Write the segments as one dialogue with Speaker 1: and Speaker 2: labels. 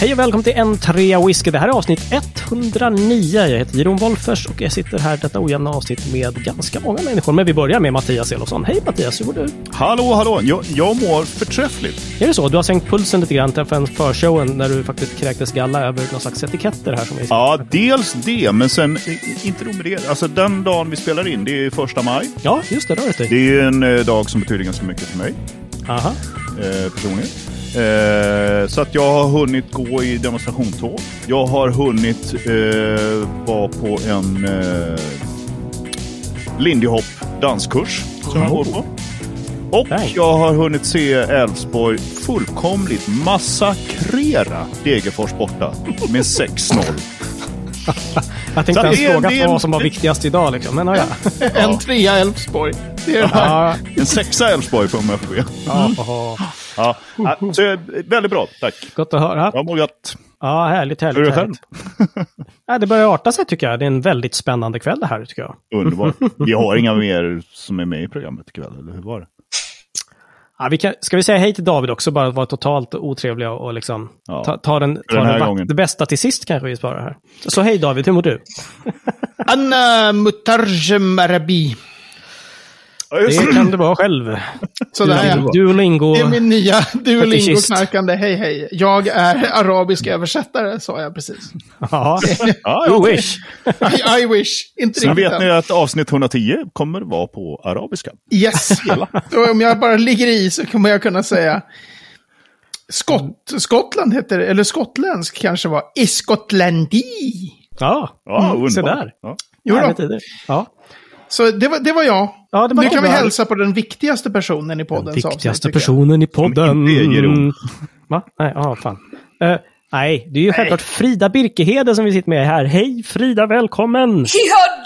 Speaker 1: Hej och välkommen till N3 Whisky. Det här är avsnitt 109. Jag heter Jeroen Wolffers och jag sitter här i detta ojämna avsnitt med ganska många människor. Men vi börjar med Mattias Elofsson. Hej Mattias, hur mår du?
Speaker 2: Hallå, hallå! Jag, jag mår förträffligt.
Speaker 1: Är det så? Du har sänkt pulsen lite grann för förshowen när du faktiskt kräktes galla över någon slags etiketter här som vi
Speaker 2: Ja, dels det, men sen eh, inte nog med det. Alltså den dagen vi spelar in, det är ju första maj.
Speaker 1: Ja, just det. Rör
Speaker 2: Det
Speaker 1: dig.
Speaker 2: är ju en eh, dag som betyder ganska mycket för mig
Speaker 1: Aha.
Speaker 2: eh, personligen. Eh, så att jag har hunnit gå i demonstrationståg. Jag har hunnit eh, vara på en eh, Lindy Hop danskurs som jag går på. Och
Speaker 1: Nej.
Speaker 2: jag har hunnit se Elfsborg fullkomligt massakrera Degerfors borta med 6-0.
Speaker 1: Jag tänkte
Speaker 2: Så
Speaker 1: ens
Speaker 2: det är-
Speaker 1: fråga
Speaker 2: det är-
Speaker 1: vad som var viktigast idag liksom. Men ja, ja.
Speaker 3: En trea Elfsborg. Det är det här.
Speaker 1: ja.
Speaker 2: En sexa Elfsborg får man ske.
Speaker 1: ja. ja.
Speaker 2: Ja. ja, Så, eh, väldigt bra, tack.
Speaker 1: Gott att höra.
Speaker 2: Jag mår gött.
Speaker 1: Ja, härligt,
Speaker 2: Hur är
Speaker 1: härligt.
Speaker 2: det själv?
Speaker 1: härligt. Ja, det börjar arta sig tycker jag. Det är en väldigt spännande kväll det här tycker jag.
Speaker 2: Underbart. Vi har inga mer som är med i programmet ikväll, eller hur var det?
Speaker 1: Ja, vi kan, ska vi säga hej till David också, bara att vara totalt otrevliga och liksom
Speaker 2: Ja.
Speaker 1: ta, ta den, ta
Speaker 2: den
Speaker 1: den,
Speaker 2: här
Speaker 1: va-
Speaker 2: gången.
Speaker 1: det bästa till sist kanske vi sparar här. Så hej David, hur mår du?
Speaker 3: Anna Mutarjem Arabi.
Speaker 2: Ja, just
Speaker 1: Det kan du vara själv.
Speaker 3: Sådär ja.
Speaker 1: Duolingo.
Speaker 3: Det är min nya
Speaker 1: Fetischist.
Speaker 3: Duolingo-knarkande. Hej hej. Jag är arabisk översättare sa jag precis.
Speaker 1: Ja,
Speaker 2: Ja, ja.
Speaker 1: you wish.
Speaker 3: I, I wish. Inte
Speaker 2: Sen
Speaker 3: riktigt
Speaker 2: vet ni
Speaker 3: än.
Speaker 2: att avsnitt 110 kommer vara på arabiska.
Speaker 3: Yes. Så om jag bara ligger i så kommer jag kunna säga Skott, Skottland heter det, eller skottländsk kanske var. I Skottländi.
Speaker 1: Ja,
Speaker 2: Ja,
Speaker 1: Mm,
Speaker 2: underbart.
Speaker 1: se där.
Speaker 2: Ja.
Speaker 3: Jo då.
Speaker 1: Härliga tider. Ja.
Speaker 3: Så det var, det var jag.
Speaker 1: Ja, det var
Speaker 3: nu
Speaker 1: jag.
Speaker 3: kan vi hälsa på den viktigaste personen i
Speaker 1: Den
Speaker 3: poddens avsnitt,
Speaker 1: viktigaste
Speaker 3: tycker jag.
Speaker 1: personen i podden.
Speaker 2: Om inte är Jeroen.
Speaker 1: Va? Nej, ja, fan. Eh, nej, det är ju självklart Frida Birkehede som vi sitter med här. Hej Frida, välkommen!
Speaker 4: Ja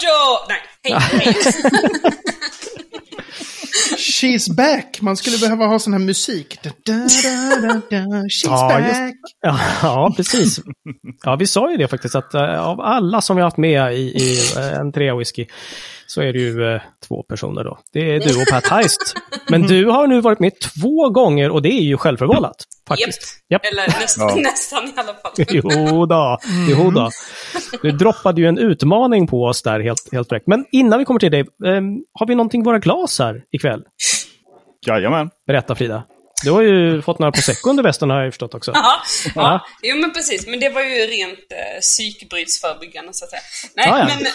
Speaker 4: då! Nej, hej, hej.
Speaker 3: She's back. Man skulle behöva ha sån här musik. Da, da, da, da, da. She's
Speaker 1: Ja, just-
Speaker 3: back.
Speaker 1: Ja, ja, precis. Ja, vi sa ju det faktiskt att eh, av alla som vi har haft med i, i eh, en trea whisky så är det ju eh, två personer då. Det är du och Pat Heist. Men du har nu varit med två gånger och det är ju självförvållat. Faktiskt. Japp.
Speaker 4: Japp. Eller näst,
Speaker 2: Ja.
Speaker 4: nästan i alla fall.
Speaker 1: Jo då, jo då. Du droppade ju en utmaning på oss där helt, helt direkt. Men innan vi kommer till dig, ehm, har vi någonting i våra glas här ikväll?
Speaker 2: Jajamän.
Speaker 1: Berätta Frida. Du har ju fått några prosecco under västen har jag ju förstått också.
Speaker 4: Ja,
Speaker 1: Ja.
Speaker 4: ja. Jo men precis, men det var ju rent eh, psykbrytsförebyggande så att säga. Nej,
Speaker 1: Ja, ja.
Speaker 4: men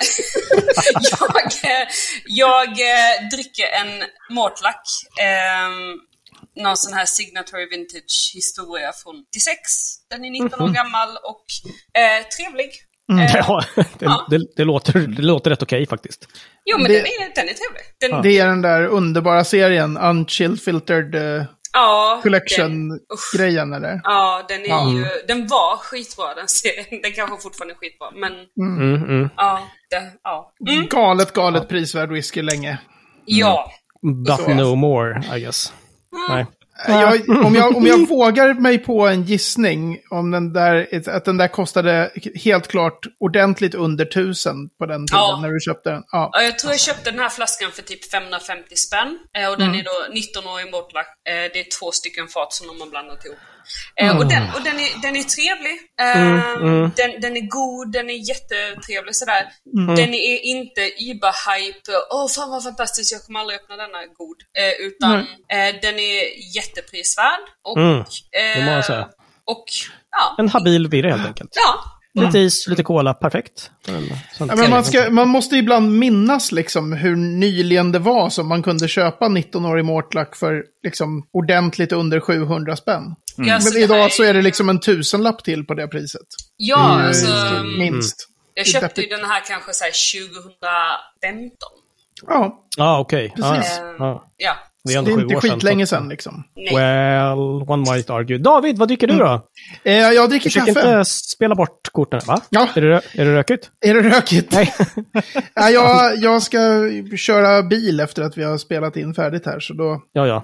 Speaker 4: jag, eh, jag eh, dricker en mortlack. ehm, någon sån här Signatory Vintage historia från 96. Den är 19 år gammal och eh, trevlig. Eh,
Speaker 1: Ja, det,
Speaker 4: Ja.
Speaker 1: det, det, låter, det låter rätt okej faktiskt.
Speaker 4: jo men
Speaker 3: Det-
Speaker 4: den, är, den är trevlig. Den,
Speaker 3: Det är den där underbara serien, Unchill Filtered eh,
Speaker 4: ja, den- usch.
Speaker 3: Collection-grejen eller?
Speaker 4: Ja, den är
Speaker 3: Ja.
Speaker 4: ju... Den var skitbra den serien. Den kanske fortfarande är skitbra, men...
Speaker 1: Mm, mm.
Speaker 4: Ja, det, ja. Mm,
Speaker 3: Galet, galet prisvärd whisky länge.
Speaker 4: ja.
Speaker 1: But
Speaker 3: Så. alltså.
Speaker 1: no more, I guess. Nej.
Speaker 3: Eh, Jag, om, jag, om jag vågar mig på en gissning om den där, att den där kostade helt klart ordentligt under tusen på den tiden
Speaker 4: Ja.
Speaker 3: när du köpte den. Ja.
Speaker 4: Ja, Jag tror jag köpte den här flaskan för typ 550 spänn. Eh, Och den
Speaker 3: Mm.
Speaker 4: är då 19 år i Mortlack. Eh, Det är två stycken fat som de har blandat ihop. Eh, Och, den,
Speaker 3: Mm.
Speaker 4: och den, är, den är trevlig. Eh, Den, den är god, den är jättetrevlig sådär.
Speaker 3: Mm.
Speaker 4: Den är inte Iba-hype, åh fan vad fantastiskt, jag kommer aldrig öppna denna god. Eh, Utan
Speaker 3: Mm.
Speaker 4: eh, den är jätteprisvärd. Och,
Speaker 1: Mm, det må jag
Speaker 4: eh,
Speaker 1: säga.
Speaker 4: Och, ja.
Speaker 1: En habil virre helt enkelt.
Speaker 4: ja.
Speaker 1: Lite is, lite cola, perfekt. Eller sånt.
Speaker 3: Mm. Ja, men man, ska, man måste ibland minnas liksom hur nyligen det var som man kunde köpa 19-årig Mortlack för liksom ordentligt under 700 spänn.
Speaker 4: Ja,
Speaker 3: Mm. Men
Speaker 4: alltså, det här
Speaker 3: idag så är det liksom en tusenlapp till på det priset.
Speaker 4: Ja, alltså.
Speaker 3: Mm. Minst.
Speaker 4: Jag
Speaker 1: Mm.
Speaker 3: Det är
Speaker 4: köpte ju
Speaker 3: deppigt.
Speaker 4: den här kanske så här 2015.
Speaker 3: Ja,
Speaker 1: Ja, Ah, okej. Ja,
Speaker 3: Precis.
Speaker 1: ja. Ja.
Speaker 4: Ehm, Ja.
Speaker 1: Det är
Speaker 3: det
Speaker 1: ändå
Speaker 3: är
Speaker 1: sju
Speaker 3: inte
Speaker 1: år sedan,
Speaker 3: skitlänge
Speaker 1: så att-
Speaker 3: sedan liksom.
Speaker 4: Nej.
Speaker 1: Well, one might argue. David, vad dricker du då?
Speaker 3: Eh, jag dricker
Speaker 1: Du försöker
Speaker 3: kaffe.
Speaker 1: inte spela bort korten, va?
Speaker 3: Ja.
Speaker 1: Är det, rö- är det rökigt?
Speaker 3: Är det rökigt?
Speaker 1: Nej.
Speaker 3: Nej, jag, jag ska köra bil efter att vi har spelat in färdigt här, så då
Speaker 1: Ja, ja.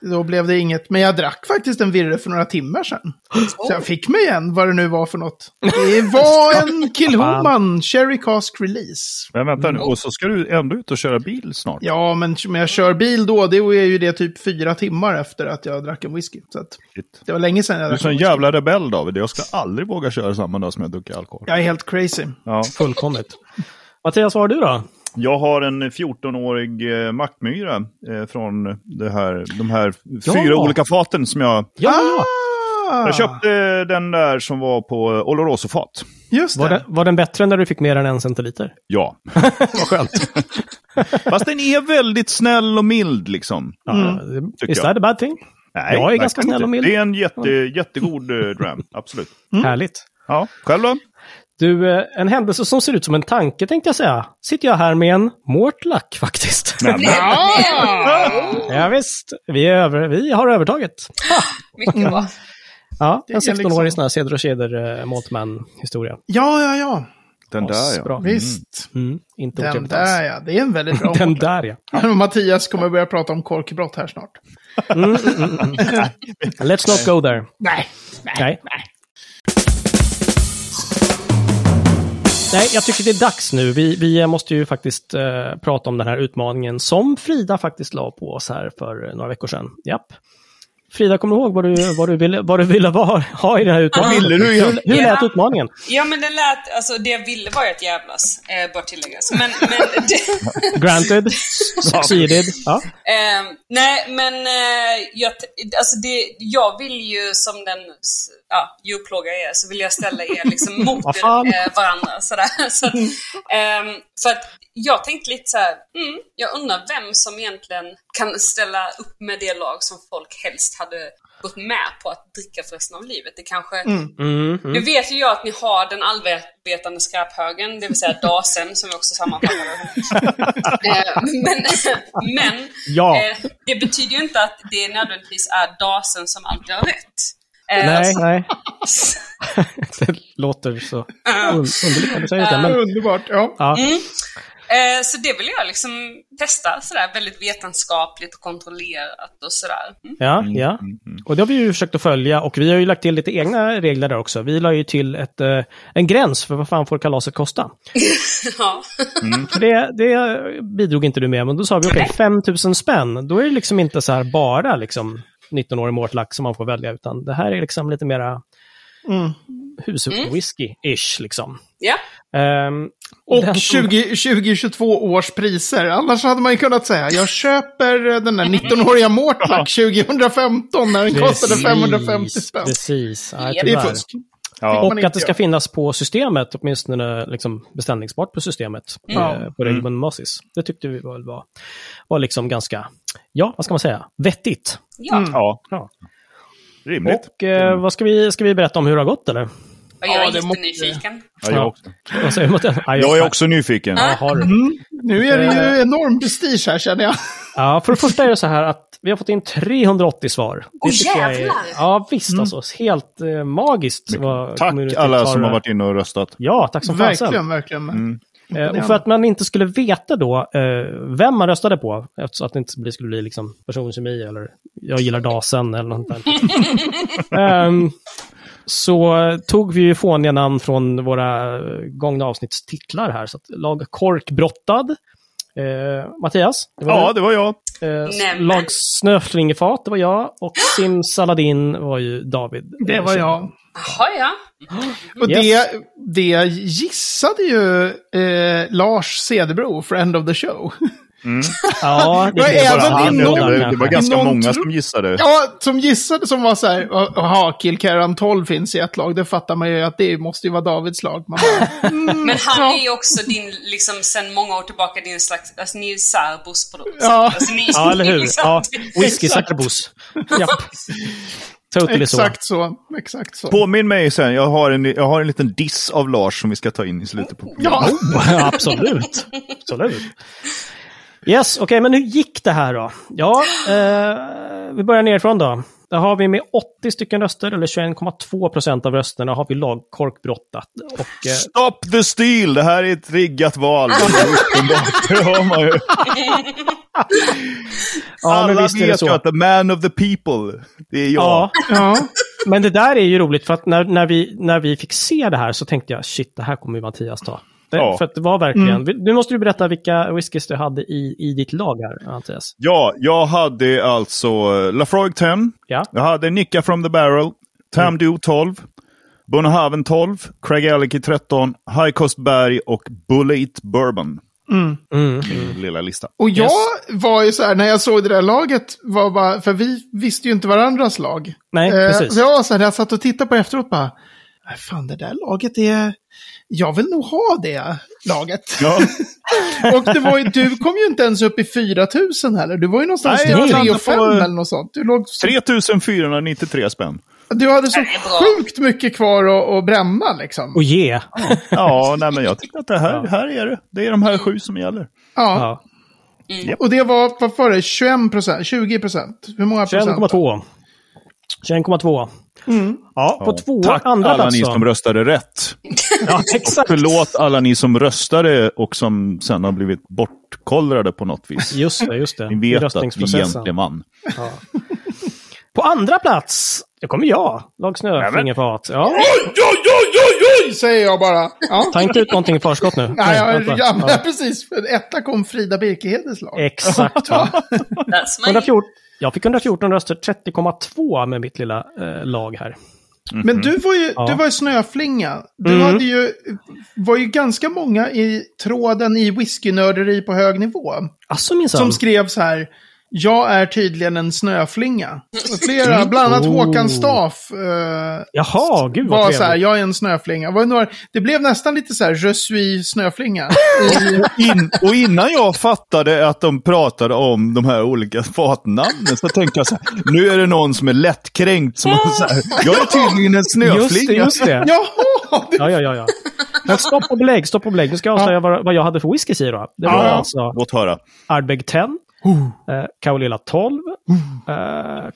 Speaker 3: Då blev det inget, men jag drack faktiskt en virre för några timmar sedan. Så jag fick mig en, vad det nu var för något. Det var en Kilhoman Cherry Cask Release.
Speaker 2: Men vänta nu, och så ska du ändå ut och köra bil snart.
Speaker 3: Ja, men om jag kör bil då, det är ju det typ fyra timmar efter att jag drack en whisky. Så att
Speaker 2: Shit.
Speaker 3: det var länge sedan jag
Speaker 2: Du är
Speaker 3: drack
Speaker 2: så
Speaker 3: en
Speaker 2: en
Speaker 3: whisky.
Speaker 2: jävla rebell David. Jag skulle aldrig våga köra samma dag som jag druckit alkohol.
Speaker 3: Jag är helt crazy.
Speaker 2: Ja.
Speaker 1: Fullkomligt. Mattias, vad har du då?
Speaker 2: Jag har en 14-årig eh, mackmyra eh, från det här, de här
Speaker 1: Ja.
Speaker 2: fyra olika faten som jag...
Speaker 1: Ja, ja,
Speaker 3: Ah,
Speaker 2: Jag köpte den där som var på eh, Oloroso-fat.
Speaker 3: Just
Speaker 1: Var,
Speaker 3: det.
Speaker 1: den, var den bättre när du fick mer än en centiliter?
Speaker 2: Ja.
Speaker 1: Vad skönt.
Speaker 2: Fast den är väldigt snäll och mild liksom.
Speaker 1: Mm, Is
Speaker 2: jag.
Speaker 1: that a bad thing? Jag
Speaker 2: Nej,
Speaker 1: är
Speaker 2: verkligen
Speaker 1: ganska snäll och mild.
Speaker 2: inte. Det är en jätte, jättegod eh, dram, absolut.
Speaker 3: Mm.
Speaker 1: Härligt.
Speaker 2: Ja, själv då?
Speaker 1: Du, eh, en händelse som ser ut som en tanke tänkte jag säga. Sitter jag här med en Mortlack faktiskt.
Speaker 2: Nej, men-
Speaker 1: Ja, visst, vi, är över, vi har övertaget.
Speaker 4: Mycket bra.
Speaker 1: Ja,
Speaker 3: är
Speaker 1: en 16-årig
Speaker 3: liksom-
Speaker 1: sån här Ceder och Ceder eh, Maltman-historia.
Speaker 3: Ja, ja, ja.
Speaker 2: Den där ja.
Speaker 1: Asbra.
Speaker 3: Visst.
Speaker 1: Mm, inte
Speaker 3: Den
Speaker 1: otrevligt alls.
Speaker 3: där ja, det är en väldigt bra
Speaker 1: Den
Speaker 3: målvakt.
Speaker 1: där ja.
Speaker 3: Mattias kommer börja prata om korkbrott här snart.
Speaker 1: Mm, Let's not go there.
Speaker 3: Nej.
Speaker 1: Nej. Nej, jag tycker det är dags nu. Vi, vi måste ju faktiskt eh, prata om den här utmaningen som Frida faktiskt la på oss här för eh, några veckor sedan. Japp. Frida, kommer du ihåg vad du, vad du ville, vad du ville vara, ha i den här utmaningen?
Speaker 2: Ville du egentligen?
Speaker 1: hur, hur lät
Speaker 4: Ja.
Speaker 1: utmaningen?
Speaker 4: Ja men det lät, alltså det jag ville var ju att jävlas, eh, bara tilläggas. Men, men det,
Speaker 1: Granted, succeeded. Ja.
Speaker 4: eh, nej men eh, jag, t- alltså det, jag vill ju som den s- ja, djurplågare jag är, så vill jag ställa er liksom mot
Speaker 1: Vad
Speaker 4: er,
Speaker 1: fan?
Speaker 4: eh, varandra. Sådär. Så att, ehm, för att jag tänkte lite så här, mm, jag undrar vem som egentligen kan ställa upp med det lag som folk helst hade gått med på att dricka för resten av livet. Det kanske
Speaker 1: Mm, mm.
Speaker 4: Nu vet ju jag att ni har den allvetande skräphögen, det vill säga dasen som vi också sammanfattar eh, Men, men
Speaker 1: Ja.
Speaker 4: eh, det betyder ju inte att det nödvändigtvis är dasen som alltid har rätt. Eh,
Speaker 1: Nej,
Speaker 4: så-
Speaker 1: nej. Det låter så un- underligt när du säger det. Men,
Speaker 3: Underbart. Ja.
Speaker 1: ja.
Speaker 4: Eh, så det vill jag liksom testa sådär väldigt vetenskapligt och kontrollerat och sådär. Mm.
Speaker 1: Ja, ja. Och det har vi ju försökt att följa och vi har ju lagt till lite egna regler där också. Vi la ju till ett, eh, en gräns för vad fan får kalaset kosta.
Speaker 4: Ja.
Speaker 1: För det, det bidrog inte du med, men då sa vi okej, 5000 spänn. Då är det liksom inte så här bara liksom 19-årig mårtlack som man får välja, utan det här är liksom lite mera
Speaker 3: Mm.
Speaker 1: huswhisky-ish liksom.
Speaker 4: ja.
Speaker 1: Ehm, den
Speaker 3: Och
Speaker 1: som-
Speaker 3: 20, 2022 års priser. Annars hade man ju kunnat säga, jag köper eh, den där 19-åriga Mortlack 2015 när den kostade 550 spänn.
Speaker 1: Precis. Nej,
Speaker 4: Det är
Speaker 3: Det är
Speaker 1: tyvärr.
Speaker 3: fusk.
Speaker 2: ja.
Speaker 1: Och
Speaker 3: man
Speaker 1: att det
Speaker 3: inte
Speaker 1: ska
Speaker 3: gör.
Speaker 1: finnas på systemet, åtminstone liksom beställningsbart på systemet,
Speaker 3: Ja. Mm.
Speaker 1: eh, på regelbunden basis. Det tyckte vi väl var, var liksom ganska, ja, vad ska man säga, vettigt.
Speaker 4: ja.
Speaker 2: Ja,
Speaker 1: Ja.
Speaker 2: rimligt.
Speaker 1: Och eh, vad ska vi, ska vi berätta om hur det har gått eller?
Speaker 4: Och jag är
Speaker 3: Ja, det måste-
Speaker 4: jättenyfiken.
Speaker 2: Ja, jag, också.
Speaker 1: Vad säger du mot det? Ja,
Speaker 2: jag är också nyfiken.
Speaker 1: Ja, har du.
Speaker 3: Nu är det
Speaker 1: Eh,
Speaker 3: ju enorm prestige här känner jag.
Speaker 1: Ja, för det första är det så här att vi har fått in 380 svar. Det
Speaker 4: Åh,
Speaker 1: tycker jag är-
Speaker 4: jävlar!
Speaker 1: Ja, visst alltså. Helt eh, magiskt. vad
Speaker 2: Mm. Tack
Speaker 1: community
Speaker 2: alla
Speaker 1: tar
Speaker 2: som
Speaker 1: det
Speaker 2: har
Speaker 1: här.
Speaker 2: varit inne och röstat.
Speaker 1: Ja, tack som fasen.
Speaker 3: Verkligen, verkligen.
Speaker 1: Eh, och för att man inte skulle veta då eh, vem man röstade på, eftersom att det inte bli- skulle bli liksom personkemi eller jag gillar dasen eller något sånt där. Ehm, så tog vi ju fåniga namn från våra eh, gångna avsnittstitlar här. Så att lag Korkbrottad, eh, Mattias, det var
Speaker 2: Ja,
Speaker 1: du.
Speaker 2: det var jag.
Speaker 1: Eh,
Speaker 4: Nämen.
Speaker 1: lag Snöflingefat, det var jag. Och Simsaladin var ju David.
Speaker 3: Det
Speaker 1: Eh,
Speaker 3: var
Speaker 1: så-
Speaker 3: jag.
Speaker 4: Jaha ja.
Speaker 3: Och
Speaker 1: Yes.
Speaker 3: det, det gissade ju eh, Lars Cederbro, Friend of the Show.
Speaker 1: Ja, det
Speaker 3: Jag
Speaker 1: blev
Speaker 3: är
Speaker 1: bara
Speaker 3: även
Speaker 1: han
Speaker 2: det,
Speaker 3: din
Speaker 1: båda
Speaker 3: någon-
Speaker 2: var, det
Speaker 1: kanske.
Speaker 2: var ganska
Speaker 3: Någon
Speaker 2: många
Speaker 3: tro-
Speaker 2: som gissade.
Speaker 3: Ja, som gissade som var så här, jaha, Kilkerran 12 finns i ett lag, det fattar man ju att det måste ju vara Davids lag. Man bara,
Speaker 4: Men han
Speaker 3: Ja.
Speaker 4: är ju också din, liksom sen många år tillbaka, din slags, alltså ni är ju särbos på något sätt.
Speaker 3: Ja.
Speaker 4: Alltså, ni,
Speaker 1: Ja, eller hur?
Speaker 4: liksom-
Speaker 1: Ja, whisky
Speaker 3: Exakt.
Speaker 1: Sackabos. Japp. Totally så.
Speaker 3: exakt så, exakt så.
Speaker 2: Påminn mig sen, jag har, en, jag har en liten diss av Lars som vi ska ta in i slutet på
Speaker 3: Ja,
Speaker 1: Oh, Absolut. Absolut. Yes, okej, men hur gick det här då? Ja, eh, vi börjar nerifrån då. Där har vi med 80 stycken röster, eller 21,2 procent av rösterna, har vi lagkorkbrottat. Och, eh,
Speaker 2: Stop the steal! Det här är ett riggat val. Det är uppenbart. Det hör man ju.
Speaker 1: ja, men
Speaker 2: Alla
Speaker 1: visst är det
Speaker 2: vet ju
Speaker 1: så.
Speaker 2: att the man of the people, det är jag.
Speaker 1: Ja,
Speaker 3: Ja.
Speaker 1: men det där är ju roligt för att när, när, vi, när vi fick se det här så tänkte jag shit, det här kommer ju Mattias ta. Det,
Speaker 2: Ja.
Speaker 1: För att det var
Speaker 3: Mm.
Speaker 1: verkligen, nu måste du berätta vilka whiskys du hade i, i ditt lag här, Mattias.
Speaker 2: Ja, jag hade alltså eh, Lafroig 10.
Speaker 1: Ja.
Speaker 2: Jag hade Nicka from the Barrel.
Speaker 1: Mm.
Speaker 2: Tamdu 12. Bonahaven 12. Craig Alicky 13. High Cost Berg och Bullet Bourbon.
Speaker 1: Mm.
Speaker 2: Min lilla lista.
Speaker 3: Och jag
Speaker 1: Yes.
Speaker 3: var ju så här, när jag såg det där laget, var bara, för vi visste ju inte varandras lag.
Speaker 1: Nej, precis.
Speaker 3: Så jag var så här, när jag satt och tittade på efteråt bara, "Nej, fan det där laget är, jag vill nog ha det laget.
Speaker 1: Mm.
Speaker 2: Ja.
Speaker 3: och det var ju, du kom ju inte ens upp i 4000 heller, du var ju någonstans
Speaker 2: Nej, jag
Speaker 3: i 3
Speaker 2: landade
Speaker 3: och 5
Speaker 2: på-
Speaker 3: eller något sånt. Du, låg,
Speaker 2: 3493 spänn.
Speaker 3: du hade så
Speaker 4: Det är bra.
Speaker 3: sjukt mycket kvar att, att bränna liksom.
Speaker 1: Och ge.
Speaker 2: Ja, nej, men jag tycker att det här, här är det. Det är de här sju som gäller.
Speaker 3: Ja.
Speaker 1: Ja.
Speaker 3: Och det var, vad var det, 21 procent, 20 procent? Hur många procent?
Speaker 1: 21,2. 21,2.
Speaker 3: Mm.
Speaker 1: Ja, på två
Speaker 2: Tack
Speaker 1: andra
Speaker 2: alla
Speaker 1: plats
Speaker 2: ni
Speaker 1: då.
Speaker 2: som röstade rätt.
Speaker 1: Ja, exakt.
Speaker 2: Förlåt alla ni som röstade och som sen har blivit bortkollrade på något vis.
Speaker 1: Just det, just det.
Speaker 2: Ni
Speaker 1: I
Speaker 2: vet att vi
Speaker 1: röstningsprocessen.
Speaker 2: egentligen vann.
Speaker 1: Ja. På andra plats, det kommer jag. Lag Snö, fingerfat. Ja.
Speaker 3: Oj, oj, oj, oj, oj, säger jag bara. Ja.
Speaker 1: Ta inte ut någonting i förskott nu.
Speaker 3: Nej, jag,
Speaker 1: vänta.
Speaker 3: ja, men
Speaker 1: Ja.
Speaker 3: precis. För Etta kom Frida Birkehedes lag.
Speaker 1: Exakt. va.
Speaker 4: That's my...
Speaker 1: 114. Jag fick 114 röster, 30,2 med mitt lilla eh, lag här.
Speaker 3: Men du var ju,
Speaker 1: Mm. Ja. Mm.
Speaker 3: du var ju snöflinga. Du hade ju, var ju ganska många i tråden i whiskynörderi på hög nivå.
Speaker 1: Alltså
Speaker 3: Som
Speaker 1: minsann.
Speaker 3: skrev så här, jag är tydligen en snöflinga. Och flera,
Speaker 1: Mm.
Speaker 3: bland annat Håkan Staff. eh,
Speaker 1: Jaha, Oh. gud vad
Speaker 3: var så här,
Speaker 1: trevligt.
Speaker 3: jag är en snöflinga. Var det, några, det blev nästan lite så här, je suis snöflinga. I,
Speaker 2: In, och innan jag fattade att de pratade om de här olika fatnamnen så tänkte jag så här, nu är det någon som är lättkränkt. Som har så här, jag är tydligen en
Speaker 1: Just det,
Speaker 2: snöflinga.
Speaker 1: just det.
Speaker 3: jaha, det
Speaker 1: Ja, ja, ja. ja. Men stopp och belägg, stopp och belägg. Nu ska jag avslöja vad, vad jag hade för whiskys i då. Det var
Speaker 2: Ja,
Speaker 1: alltså
Speaker 2: Låt höra.
Speaker 1: Ardbeg 10, eh, Kaolila 12, eh,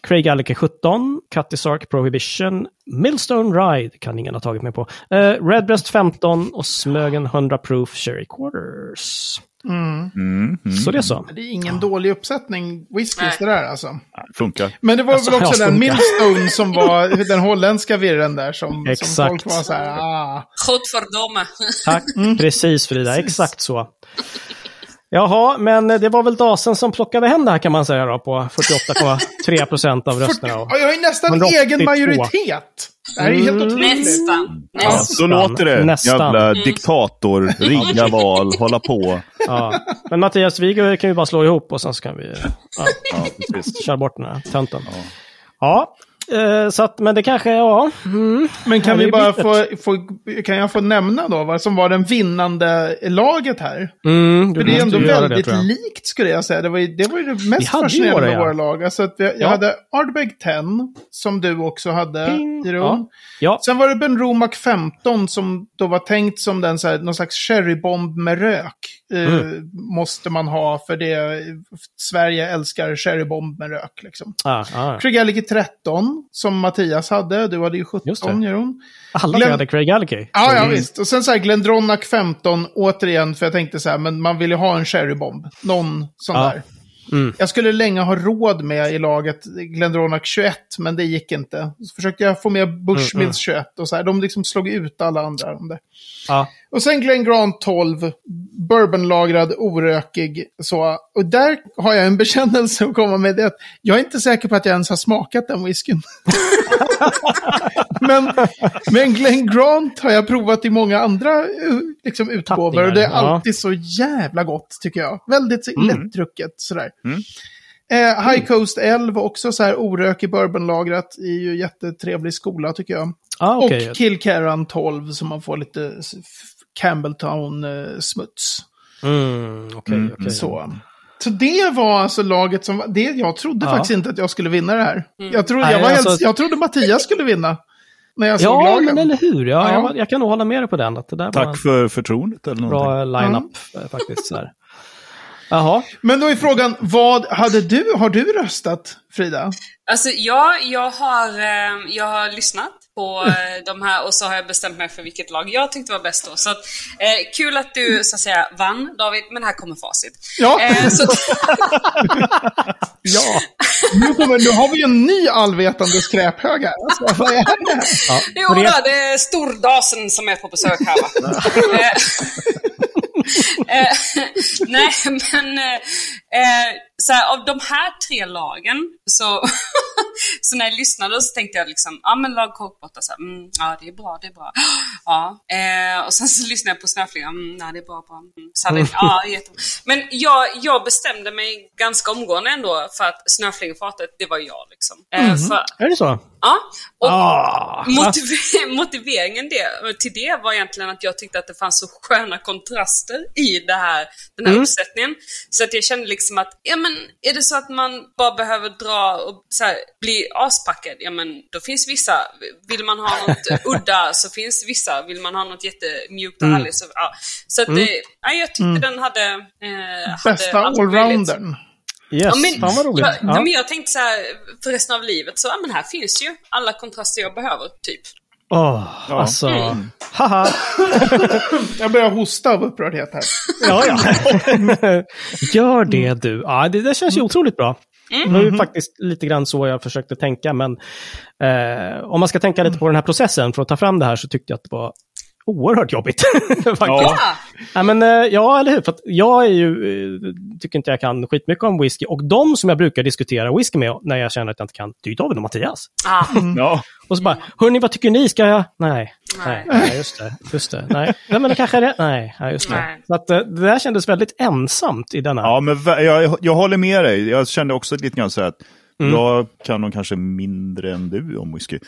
Speaker 1: Craig Alliker 17, Cutty Sark Prohibition, Millstone Ride kan ingen ha tagit mig på, eh, Redbreast 15 och Smögen 100 Proof Cherry Quarters.
Speaker 3: Mm.
Speaker 1: Så det är så.
Speaker 3: Det är ingen dålig uppsättning whiskys det där alltså.
Speaker 2: Funkar.
Speaker 3: Men det var
Speaker 1: Alltså,
Speaker 3: väl
Speaker 1: jag
Speaker 3: också den
Speaker 1: funkar.
Speaker 3: Millstone som var den holländska virren där som, som
Speaker 1: Exakt.
Speaker 3: folk var så här, ah.
Speaker 4: Goed för dem.
Speaker 1: Tack,
Speaker 3: Mm.
Speaker 1: precis Frida, exakt så. Jaha, men det var väl Dasen som plockade hem det här kan man säga då på 48,3 procent av rösterna.
Speaker 3: Ja, jag har ju nästan
Speaker 1: 182.
Speaker 3: egen majoritet. Det här är ju
Speaker 1: Mm.
Speaker 3: helt otroligt.
Speaker 4: Nästan.
Speaker 2: Ja,
Speaker 4: Nästan.
Speaker 2: så låter det.
Speaker 1: Nästan. Mm.
Speaker 2: Jävla diktator, rigga val, hålla på.
Speaker 1: Ja. Men Mattias, vi kan ju bara slå ihop och sen så kan vi ja,
Speaker 2: Ja, precis.
Speaker 1: köra bort den här tönten. Ja, eh, så att, men det kanske, ja. Mm.
Speaker 3: Men kan
Speaker 1: Ja, det
Speaker 3: vi
Speaker 1: är
Speaker 3: bara få,
Speaker 1: bittert.
Speaker 3: få, kan jag få nämna då vad som var den vinnande laget här?
Speaker 1: Mm, du
Speaker 3: För det är
Speaker 1: måste
Speaker 3: ändå
Speaker 1: ju göra
Speaker 3: väldigt
Speaker 1: tror jag.
Speaker 3: likt skulle jag säga. Det var ju, det, var ju det mest
Speaker 1: hade ju
Speaker 3: fascinerande
Speaker 1: några,
Speaker 3: med
Speaker 1: ja.
Speaker 3: våra lag. Alltså att vi, jag
Speaker 1: Ja.
Speaker 3: hade Ardbeg 10 som du också hade
Speaker 1: Ping.
Speaker 3: i
Speaker 1: Ja.
Speaker 3: rum.
Speaker 1: Ja,
Speaker 3: Sen var det Ben Romac 15 som då var tänkt som den, så här, någon slags sherrybomb med rök. Eh,
Speaker 1: Mm.
Speaker 3: Måste man ha för det, Sverige älskar sherrybomb med rök. Liksom.
Speaker 1: ah, ah.
Speaker 3: Craig Allicky 13 som Mattias hade, du hade ju
Speaker 1: Just det.
Speaker 3: 17 Jeroen.
Speaker 1: alla
Speaker 3: Glöm-
Speaker 1: tre hade Craig Allicky.
Speaker 3: Ja, ja visst. Och sen så här Glendronach 15 återigen för jag tänkte så här, men man vill ju ha en sherrybomb. Någon sån
Speaker 1: Ja.
Speaker 3: där. Jag skulle länge ha råd med i laget Glendronach 21, men det gick inte. Så försökte jag få med Bushmills 21 och så här. De liksom slog ut alla andra. Om det.
Speaker 1: Mm. Ja.
Speaker 3: Och sen Glen Grant 12, bourbonlagrad, orökig. Så. Och där har jag en bekännelse att komma med. Det är att jag är inte säker på att jag ens har smakat den whiskyn. men, men Glen Grant har jag provat i många andra eh, liksom, utgåvor. Och det är
Speaker 1: Tappningar, ja. Mm.
Speaker 3: alltid så jävla gott tycker jag. Väldigt lättdrucket sådär. Eh, High Coast 11 var också så här orökig bourbonlagrat. Det är ju jättetrevlig skola tycker jag.
Speaker 1: Ah, okej.
Speaker 3: Och Kill Caran 12 som man får lite s- f- Campbelltown-smuts.
Speaker 1: Mm, okej, okej.
Speaker 3: Så. Så det var alltså laget som, det, jag trodde
Speaker 1: Ja.
Speaker 3: faktiskt inte att jag skulle vinna det här. Jag trodde, jag,
Speaker 1: Nej,
Speaker 3: var helt,
Speaker 1: alltså-
Speaker 3: jag trodde Mattias skulle vinna. När jag såg
Speaker 1: Ja,
Speaker 3: lagen.
Speaker 1: men eller hur. Ja,
Speaker 3: Ja.
Speaker 1: Jag, var- jag kan nog hålla med dig på den. Att det där var
Speaker 2: Tack för förtroendet eller
Speaker 1: en
Speaker 2: någonting.
Speaker 1: bra eh, line-up eh, faktiskt. Så här. Jaha.
Speaker 3: Men då är frågan, vad hade du, har du röstat Frida?
Speaker 4: Alltså ja, jag har, eh, jag har lyssnat på eh, de här och så har jag bestämt mig för vilket lag jag tyckte var bäst då. Så att, eh, kul att du så att säga vann David, men här kommer facit.
Speaker 3: Ja.
Speaker 4: Eh, så,
Speaker 1: Ja.
Speaker 3: Nu, kommer, nu har vi ju en ny allvetande skräphög här. Alltså, vad är det här?
Speaker 1: ja.
Speaker 4: jo,
Speaker 1: och
Speaker 4: då,
Speaker 1: det-
Speaker 4: det är stordasen som är på besök här va? Eh, eh, Nej, men eh, eh, så här, av de här tre lagen så, så när jag lyssnade så tänkte jag liksom, ja men lag kåkbotta, så här, mm, ja det är bra, det är bra. Ja, eh, och sen så lyssnade jag på snöflingan, mm, ja det är bra, bra. Mm, så hade, ja, jättebra. Men jag, jag bestämde mig ganska omgående ändå för att snöflingefatet, det var jag liksom. Eh, för,
Speaker 1: Är det så?
Speaker 4: ja, och,
Speaker 1: Mhm. Ah,
Speaker 4: Motiv- motiveringen det, till det var egentligen att jag tyckte att det fanns så sköna kontraster i det här, den
Speaker 1: Mm.
Speaker 4: här uppsättningen. Så att jag kände liksom att, ja men är det så att man bara behöver dra och så här, bli aspackad, ja men då finns vissa, vill man ha något udda så finns vissa, vill man ha något jättemjukt och
Speaker 1: Mm.
Speaker 4: härligt så, ja. Så att det, ja, jag tyckte den hade... Eh, hade
Speaker 3: Bästa
Speaker 4: allt möjligt.
Speaker 3: allroundern.
Speaker 1: yes.
Speaker 4: Ja, men,
Speaker 1: Fan vad roligt.
Speaker 4: Ja,
Speaker 1: Ja.
Speaker 4: men jag tänkte så här, för resten av livet, så ja, men här finns ju alla kontraster jag behöver, typ.
Speaker 1: Åh, alltså.
Speaker 4: Mm.
Speaker 1: Haha.
Speaker 3: Jag börjar hosta av upprördhet här.
Speaker 1: Ja, ja. Gör det du. Ja, det, det känns ju otroligt bra.
Speaker 4: Mm.
Speaker 1: Det var ju faktiskt lite grann så jag försökte tänka, men eh, om man ska tänka lite på den här processen för att ta fram det här så tyckte jag att det var oerhört jobbigt. faktiskt.
Speaker 2: Ja.
Speaker 4: Ja,
Speaker 1: Ja, men, eh, ja, eller hur? För att jag är ju, eh, tycker inte jag kan skitmycket om whisky. Och de som jag brukar diskutera whisky med när jag känner att jag inte kan, det är ju David och Mattias.
Speaker 4: ah,
Speaker 2: Ja.
Speaker 1: Och så bara, hörni vad tycker ni? Ska jag? Nej. Nej,
Speaker 4: Nej.
Speaker 1: nej just det. Just det. Nej. nej, men det kanske är det. Nej, nej just det.
Speaker 4: Nej.
Speaker 1: Så att, eh, det där kändes väldigt ensamt i denna.
Speaker 2: Ja, men vä- jag, jag håller med dig. Jag kände också lite grann så här att
Speaker 1: Mm.
Speaker 2: jag kan nog kanske mindre än du om whisky.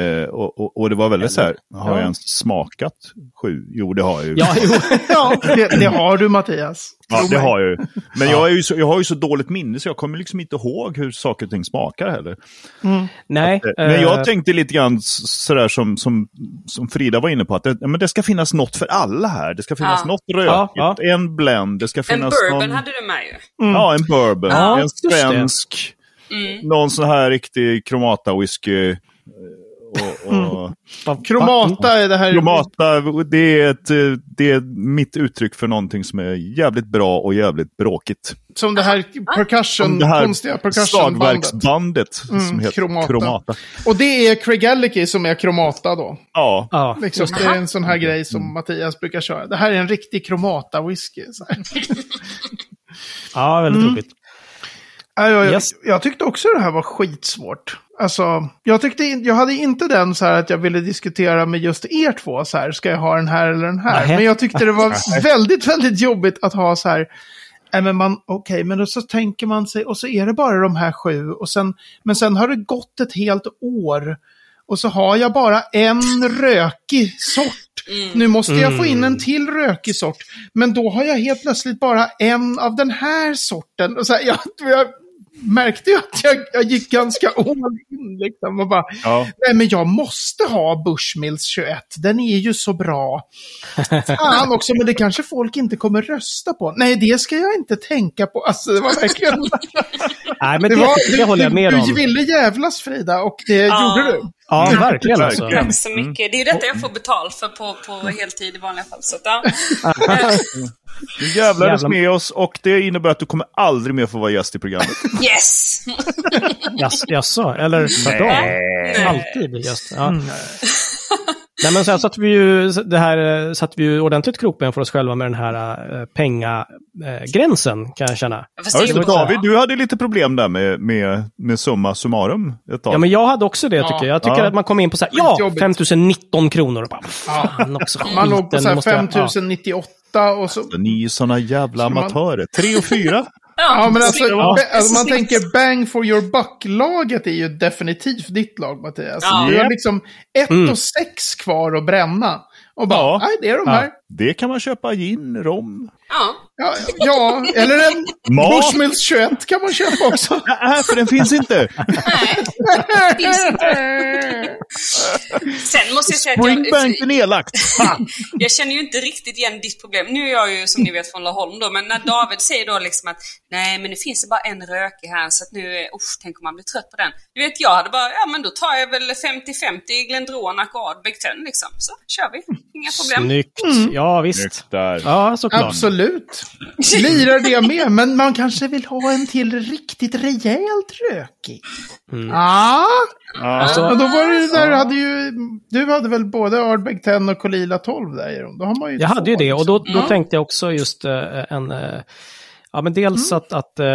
Speaker 2: Eh, och, och, och det var väldigt så här, har jag ens smakat sju? Jo, det har jag ju.
Speaker 1: Ja, jo.
Speaker 3: Ja, det, det har du Mattias.
Speaker 2: Ja,
Speaker 3: Tro
Speaker 2: det
Speaker 3: mig.
Speaker 2: har jag ju. Men jag, är ju så, jag har ju så dåligt minne så jag kommer liksom inte ihåg hur saker och ting smakar heller.
Speaker 1: nej.
Speaker 2: Men
Speaker 1: eh,
Speaker 2: jag tänkte lite grann s- sådär som, som, som Frida var inne på, att det, ja, men det ska finnas något för alla här. Det ska finnas
Speaker 4: Ja.
Speaker 2: något
Speaker 1: Ja,
Speaker 2: rökigt,
Speaker 1: ja.
Speaker 2: en blend, det ska
Speaker 4: en
Speaker 2: finnas
Speaker 4: bourbon
Speaker 2: någon...
Speaker 4: hade du med ju.
Speaker 3: Mm.
Speaker 2: Ja, en bourbon,
Speaker 1: Ja,
Speaker 2: en
Speaker 1: just det.
Speaker 2: svensk, någon sån här riktig kromata-whisky. eh, Och, och,
Speaker 1: vad-
Speaker 3: Kromata är det
Speaker 1: Mm.
Speaker 3: här.
Speaker 2: Kromata, det är, ett, eh, det är mitt uttryck för någonting som är jävligt bra och jävligt bråkigt.
Speaker 3: Som det här percussion,
Speaker 2: det
Speaker 3: konstiga
Speaker 2: här
Speaker 3: percussionbandet. Mm,
Speaker 2: slagverksbandet som heter
Speaker 3: Kromata.
Speaker 2: Kromata.
Speaker 3: Och det är Craig Ellicky som är kromata då.
Speaker 2: Ja,
Speaker 1: Ja.
Speaker 3: Liksom, det är en sån här grej
Speaker 2: Mm.
Speaker 3: som Mattias brukar köra. Det här är en riktig kromata-whisky. så här.
Speaker 1: ja, väldigt roligt.
Speaker 3: Ja, jag,
Speaker 1: Yes.
Speaker 3: jag tyckte också det här var skitsvårt. Alltså, jag, tyckte in, jag hade inte den så här att jag ville diskutera med just er två, så här, ska jag ha den här eller den här?
Speaker 1: Nähä.
Speaker 3: Men jag tyckte det var väldigt, väldigt jobbigt att ha så här, nej men man, okej, men då så tänker man sig, och så är det bara de här sju, och sen, men sen har det gått ett helt år, och så har jag bara en rökig sort. Nu måste jag få
Speaker 1: Mm.
Speaker 3: in en till rökig sort. Men då har jag helt plötsligt bara en av den här sorten. Och så här, jag, jag märkte ju att jag, jag gick ganska all in liksom. Och bara,
Speaker 2: Ja.
Speaker 3: nej men jag måste ha Bushmills 21. Den är ju så bra. Fan också, men det kanske folk inte kommer rösta på. Nej, det ska jag inte tänka på. Alltså det var verkligen...
Speaker 1: Nej, men det, det, håller jag med
Speaker 3: du,
Speaker 1: om.
Speaker 3: Du ville jävlas Frida och det
Speaker 4: Ja.
Speaker 3: gjorde du.
Speaker 1: Ja, verkligen alltså.
Speaker 2: Verkligen.
Speaker 4: Tack så mycket. Det är ju detta jag får betalt för på, på heltid i vanliga fall. Så att, ja.
Speaker 2: du jävlades
Speaker 1: Jävla-
Speaker 2: med oss och det innebär att du kommer aldrig mer få vara gäst i programmet.
Speaker 4: Yes!
Speaker 1: Jas- Jaså, eller tvärtom. Alltid just. Ja.
Speaker 3: Mm.
Speaker 1: Nej men sen satt vi ju, det här, eh, satt vi ju ordentligt krokben för oss själva med den här eh, pengagränsen kan jag känna.
Speaker 4: Fast
Speaker 2: Ja,
Speaker 4: det är
Speaker 2: just
Speaker 4: ju
Speaker 2: det,
Speaker 4: bra.
Speaker 2: David, du hade lite problem där med, med, med summa summarum ett tag.
Speaker 1: Ja men jag hade också det tycker jag. Jag tycker
Speaker 2: Ja.
Speaker 1: att man kom in på så här, ja,
Speaker 3: Skitjobbigt.
Speaker 1: 5019 kronor och bara, fan också.
Speaker 3: Man
Speaker 1: skiten,
Speaker 3: låg på så här
Speaker 1: måste jag-
Speaker 3: 5098 och så...
Speaker 2: Ni är sådana jävla
Speaker 3: man-
Speaker 2: amatörer. Tre och fyra.
Speaker 3: Ja, men alltså,
Speaker 4: precis.
Speaker 3: ba- alltså man tänker bang for your buck-laget är ju definitivt ditt lag, Mattias.
Speaker 4: Ja.
Speaker 3: Du har
Speaker 2: Japp.
Speaker 3: liksom ett
Speaker 1: Mm.
Speaker 3: och sex kvar att bränna. Och bara,
Speaker 2: Ja.
Speaker 3: nej, det är de
Speaker 1: Ja.
Speaker 3: här.
Speaker 2: Det kan man köpa gin, rom.
Speaker 4: Ja.
Speaker 3: Ja, ja, eller en
Speaker 2: Mat.
Speaker 3: Bushmills 21 kan man köpa också.
Speaker 2: Nej, äh, för den finns inte.
Speaker 4: Nej, det finns inte. Sen måste jag säga att jag,
Speaker 2: Springbank är nedlagt. Fan.
Speaker 4: jag känner ju inte riktigt igen ditt problem. Nu är jag ju som ni vet från Laholm då, men när David säger då liksom att nej men nu finns det bara en rökig här så att nu, eh, usch, tänk om man blir trött på den. Du vet jag hade bara, ja men då tar jag väl 50-50 Glendronac och Ardbeg 10 liksom, så kör vi. Inga problem.
Speaker 1: Snyggt.
Speaker 3: Mm.
Speaker 1: Ja, visst.
Speaker 2: Nykter.
Speaker 1: Ja, såklart.
Speaker 3: Absolut. Lirar det med, men man kanske vill ha en till riktigt rejält rökig.
Speaker 1: Mm.
Speaker 3: Ja,
Speaker 2: Ja.
Speaker 1: Så-
Speaker 3: och då var det ju där, hade ju, du hade väl både Ardbeg 10 och Kolila 12 där Jeroen? Då har man ju
Speaker 1: Jag
Speaker 3: två,
Speaker 1: hade ju det och
Speaker 3: liksom.
Speaker 1: då, då tänkte jag också just eh, en... eh, ja, men
Speaker 3: Mm.
Speaker 1: dels att, att eh,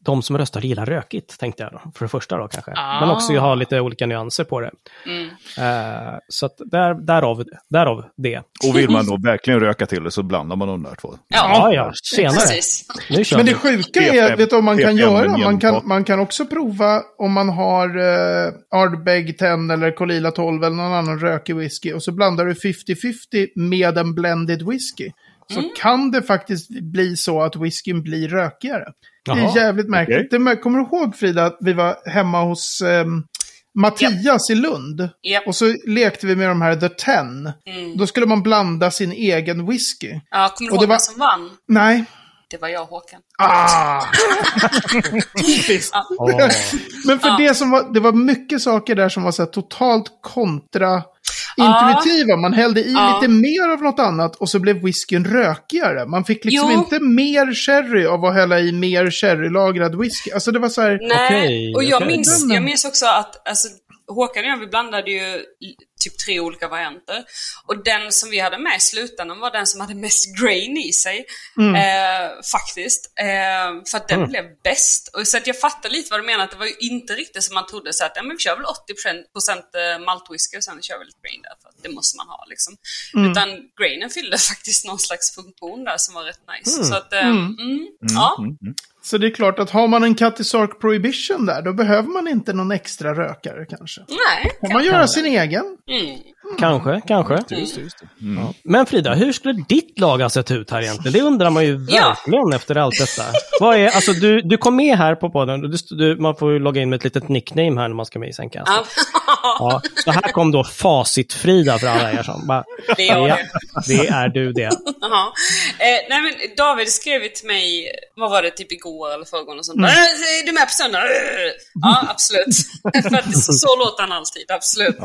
Speaker 1: de som röstar gillar rökigt, tänkte jag då, för det första då kanske.
Speaker 3: Ah.
Speaker 1: Men också ha lite olika nyanser på det.
Speaker 3: Mm.
Speaker 1: Eh, så att där, därav, därav det.
Speaker 2: Och vill man då verkligen röka till det så blandar man de där två.
Speaker 1: Ja, ja, senare.
Speaker 4: precis.
Speaker 1: Nu kör
Speaker 3: Men
Speaker 1: vi.
Speaker 3: det sjuka
Speaker 2: P5,
Speaker 3: är, vet du vad man kan
Speaker 2: P5
Speaker 3: göra? Man
Speaker 2: genombrott.
Speaker 3: kan, man kan också prova om man har eh, Ardbeg 10 eller Kolila 12 eller någon annan rökig whisky och så blandar du 50-50 med en blended whisky. Så kan det faktiskt bli så att whiskyn blir rökigare. Det är
Speaker 1: Jaha,
Speaker 3: jävligt märkligt. Det mär- kommer du ihåg Frida att vi var hemma hos ehm, Mattias i Lund?
Speaker 4: Japp.
Speaker 3: Och så lekte vi med de här The Ten. Då skulle man blanda sin egen whisky.
Speaker 4: Ja, kommer du
Speaker 3: Och det
Speaker 4: ihåg vem
Speaker 3: var-
Speaker 4: som vann?
Speaker 3: Nej.
Speaker 4: Det var jag och Håkan.
Speaker 3: Ah! Typiskt.
Speaker 1: Åh.
Speaker 3: Men för det som var, det var mycket saker där som var så här totalt kontra intuitiva. Man hällde i
Speaker 4: Ja.
Speaker 3: lite mer av något annat och så blev whiskyn rökigare. Man fick liksom
Speaker 4: Jo.
Speaker 3: inte mer sherry av att hälla i mer sherrylagrad whisky. Alltså det var så här,
Speaker 4: Nej,
Speaker 1: Okej,
Speaker 4: och jag,
Speaker 1: okej.
Speaker 4: minns, jag minns också att alltså, Håkan och jag vi blandade ju i- typ tre olika varianter. Och den som vi hade med i slutändan var den som hade mest grain i sig.
Speaker 3: Mm.
Speaker 4: Eh, faktiskt. Eh, för att den blev bäst. Och så att jag fattar lite vad du menar, att det var ju inte riktigt som man trodde. Så att ja, men vi kör väl 80% eh, maltwhisky och sen kör vi lite grain där. För att det måste man ha liksom.
Speaker 3: Mm.
Speaker 4: Utan grainen fyllde faktiskt någon slags funktion där som var rätt nice. Så att, eh, mm. ja.
Speaker 3: så det är klart att har man en Cutty Sark Prohibition där, då behöver man inte någon extra rökare kanske.
Speaker 4: Nej,
Speaker 3: Kan man göra sin egen?
Speaker 1: Kanske, kanske.
Speaker 2: Mm.
Speaker 1: Ja. Men Frida, hur skulle ditt lag ha sett ut här egentligen? Det undrar man ju
Speaker 4: Ja.
Speaker 1: verkligen efter allt detta. Vad är, alltså, du, du kom med här på podden, och du, du, man får ju logga in med ett litet nickname här när man ska med i Sängkast. Ja. Så här kom då Facit-Frida för alla er som bara,
Speaker 4: Det är jag
Speaker 1: ja,
Speaker 4: det.
Speaker 1: det är du det.
Speaker 4: Jaha. Eh, nej men David skrev ju till mig, vad var det, typ igår eller förrgår och sånt. Mm. Är du med på söndag? Äh. Ja, absolut. För att så, så låter han alltid, absolut.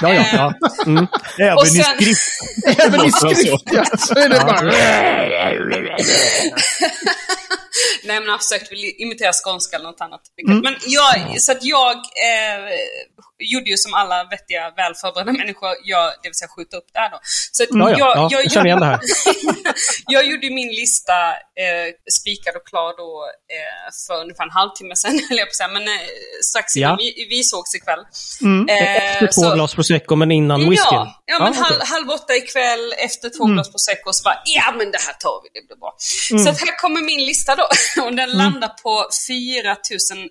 Speaker 1: Ja, ja, ja. Mm.
Speaker 2: Även
Speaker 4: Och sen,
Speaker 2: i skrift.
Speaker 3: Även i skriftliga så är det bara...
Speaker 4: nej men han försökte väl imitera skånska eller något annat.
Speaker 1: Mm.
Speaker 4: Men jag, så att jag eh, gjorde ju som alla vettiga, välförberedda människor gör, det vill säga skjuta upp det här då. Så att
Speaker 1: Mm. Ja, ja,
Speaker 4: jag,
Speaker 1: ja. Jag känner igen det här.
Speaker 4: jag gjorde ju min lista eh, spikad och klar då eh, för ungefär en halvtimme sedan, höll jag på att säga, men eh, strax innan
Speaker 1: Ja. Mm.
Speaker 4: vi, vi sågs ikväll.
Speaker 1: Efter två glas prosecco, men innan whiskyn.
Speaker 4: Eh, Ja, ja men
Speaker 1: okej. Mm.
Speaker 4: halv, halv åtta ikväll efter två glas prosecco så bara, ja men det här tar vi, det blir bra. Så att här kommer min lista då, och
Speaker 1: Mm.
Speaker 4: den landar på 4552